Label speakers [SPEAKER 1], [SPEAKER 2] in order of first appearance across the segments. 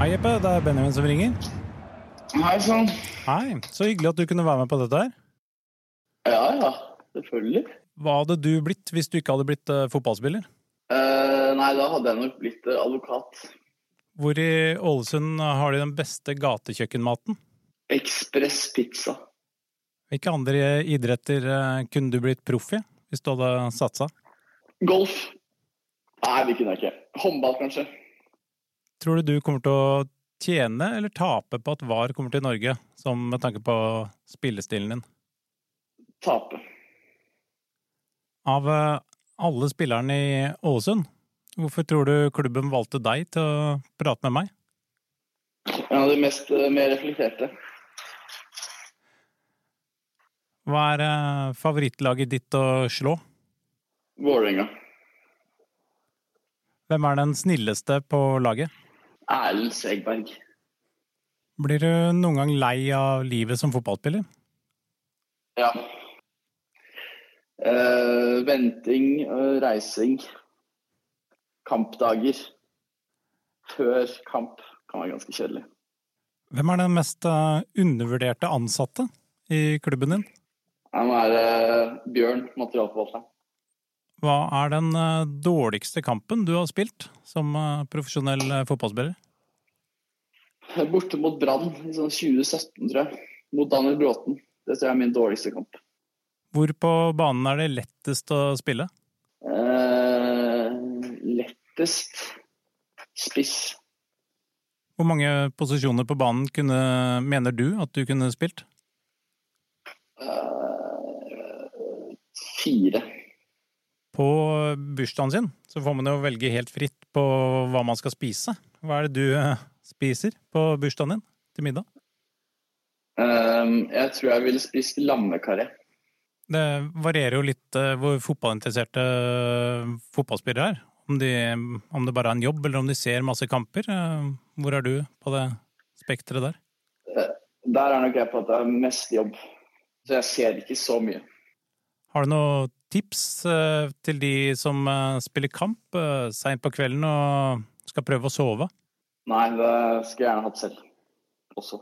[SPEAKER 1] Hei, Jeppe. Det er Benjamin som ringer.
[SPEAKER 2] Hei sann.
[SPEAKER 1] Hei, Så hyggelig at du kunne være med på dette. her.
[SPEAKER 2] Ja ja, selvfølgelig.
[SPEAKER 1] Hva hadde du blitt hvis du ikke hadde blitt eh, fotballspiller?
[SPEAKER 2] Eh, nei, da hadde jeg nok blitt eh, advokat.
[SPEAKER 1] Hvor i Ålesund eh, har de den beste gatekjøkkenmaten?
[SPEAKER 2] Ekspress pizza.
[SPEAKER 1] Hvilke andre idretter eh, kunne du blitt proff i hvis du hadde satsa?
[SPEAKER 2] Golf. Nei, det kunne jeg ikke. Håndball, kanskje.
[SPEAKER 1] Tror du du kommer til å tjene eller tape på at VAR kommer til Norge, som med tanke på spillestilen din?
[SPEAKER 2] Tape.
[SPEAKER 1] Av eh, alle spillerne i Ålesund, hvorfor tror du klubben valgte deg til å prate med meg?
[SPEAKER 2] En av de mest eh, mer reflekterte.
[SPEAKER 1] Hva er eh, favorittlaget ditt å slå?
[SPEAKER 2] Vålerenga.
[SPEAKER 1] Hvem er den snilleste på laget?
[SPEAKER 2] Erlend Segberg.
[SPEAKER 1] Blir du noen gang lei av livet som fotballspiller?
[SPEAKER 2] Ja. Eh, venting, eh, reising, kampdager før kamp kan være ganske kjedelig.
[SPEAKER 1] Hvem er den mest eh, undervurderte ansatte i klubben din?
[SPEAKER 2] Han er eh, Bjørn, materialforvalteren.
[SPEAKER 1] Hva er den eh, dårligste kampen du har spilt som eh, profesjonell eh, fotballspiller?
[SPEAKER 2] Borte mot Brann i sånn 2017, tror jeg. Mot Daniel Bråten. Det tror jeg er min dårligste kamp.
[SPEAKER 1] Hvor på banen er det lettest å spille?
[SPEAKER 2] Eh, lettest spiss.
[SPEAKER 1] Hvor mange posisjoner på banen kunne, mener du at du kunne spilt?
[SPEAKER 2] Eh, fire.
[SPEAKER 1] På bursdagen sin så får man jo velge helt fritt på hva man skal spise. Hva er det du eh, spiser på bursdagen din til middag?
[SPEAKER 2] Eh, jeg tror jeg ville spist lammekaré.
[SPEAKER 1] Det varierer jo litt eh, hvor fotballinteresserte eh, fotballspillere er. Om, de, om det bare er en jobb, eller om de ser masse kamper. Eh, Hvor er du på det spekteret der?
[SPEAKER 2] Der er nok jeg på at det er mest jobb. Så jeg ser ikke så mye.
[SPEAKER 1] Har du noen tips eh, til de som eh, spiller kamp eh, seint på kvelden og skal prøve å sove?
[SPEAKER 2] Nei, det skulle jeg gjerne hatt selv også.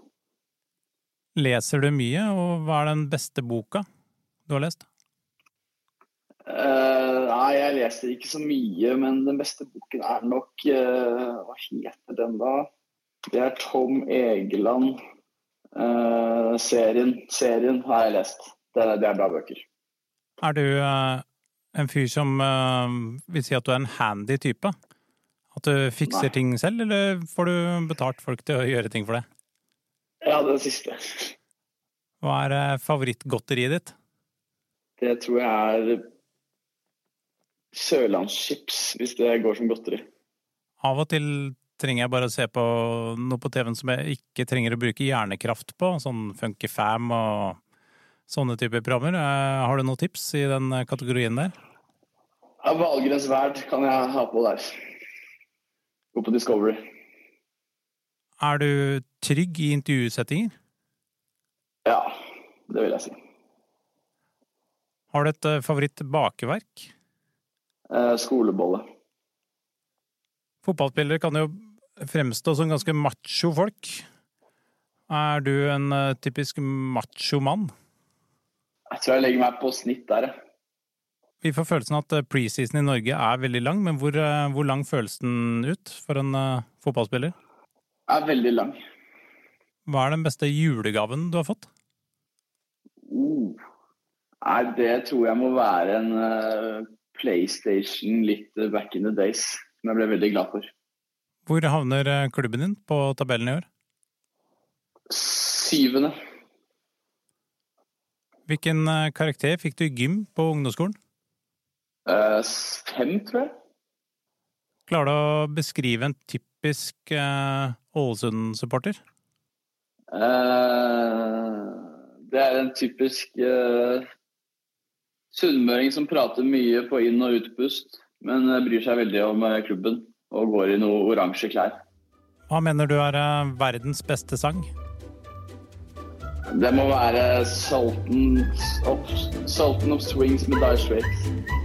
[SPEAKER 1] Leser du mye, og hva er den beste boka du har lest?
[SPEAKER 2] Eh, nei, jeg leser ikke så mye, men den beste boken er nok eh, Hva heter den, da? Det er Tom Egeland. eh, serien. Serien har jeg lest. Det, det er bra bøker.
[SPEAKER 1] Er du eh, en fyr som eh, vil si at du er en handy type? At du fikser
[SPEAKER 2] Nei.
[SPEAKER 1] ting selv, eller får du betalt folk til å gjøre ting for deg?
[SPEAKER 2] Ja, den siste.
[SPEAKER 1] Hva er eh, favorittgodteriet ditt?
[SPEAKER 2] Det tror jeg er Sørlandschips, hvis det går som godteri.
[SPEAKER 1] Av og til trenger jeg bare å se på noe på TV-en som jeg ikke trenger å bruke hjernekraft på, sånn Funky Fam og sånne typer programmer. Eh, Har du noen tips i den eh, kategorien der?
[SPEAKER 2] Ja, Valgrens verd kan jeg ha på der. Gå på Discovery.
[SPEAKER 1] Er du trygg i intervjusettinger?
[SPEAKER 2] Ja, det vil jeg si.
[SPEAKER 1] Har du et eh, favorittbakeverk?
[SPEAKER 2] Eh, skolebolle.
[SPEAKER 1] Fotballspillere kan jo fremstå som ganske macho folk. Er du en eh, typisk macho mann?
[SPEAKER 2] Jeg tror jeg legger meg på snitt der, jeg.
[SPEAKER 1] Vi får følelsen at eh, preseason i Norge er veldig lang, men hvor, eh, hvor lang føles den ut for en eh, fotballspiller?
[SPEAKER 2] Jeg er veldig lang.
[SPEAKER 1] Hva er den beste julegaven du har fått?
[SPEAKER 2] Uh. Nei, det tror jeg må være en eh, PlayStation litt eh, back in the days, som jeg ble veldig glad for.
[SPEAKER 1] Hvor havner eh, klubben din på tabellen i år?
[SPEAKER 2] Syvende.
[SPEAKER 1] Hvilken eh, karakter fikk du i gym på ungdomsskolen?
[SPEAKER 2] Eh, s- fem, tror jeg.
[SPEAKER 1] Klarer du å beskrive en typisk eh, Ålesund-supporter?
[SPEAKER 2] Eh, det er en typisk eh, sunnmøring som prater mye på inn- og utpust, men eh, bryr seg veldig om eh, klubben og går i noe oransje klær.
[SPEAKER 1] Hva mener du er eh, verdens beste sang?
[SPEAKER 2] Det må være Sultan of, Sultan of Swings med Dire Straits.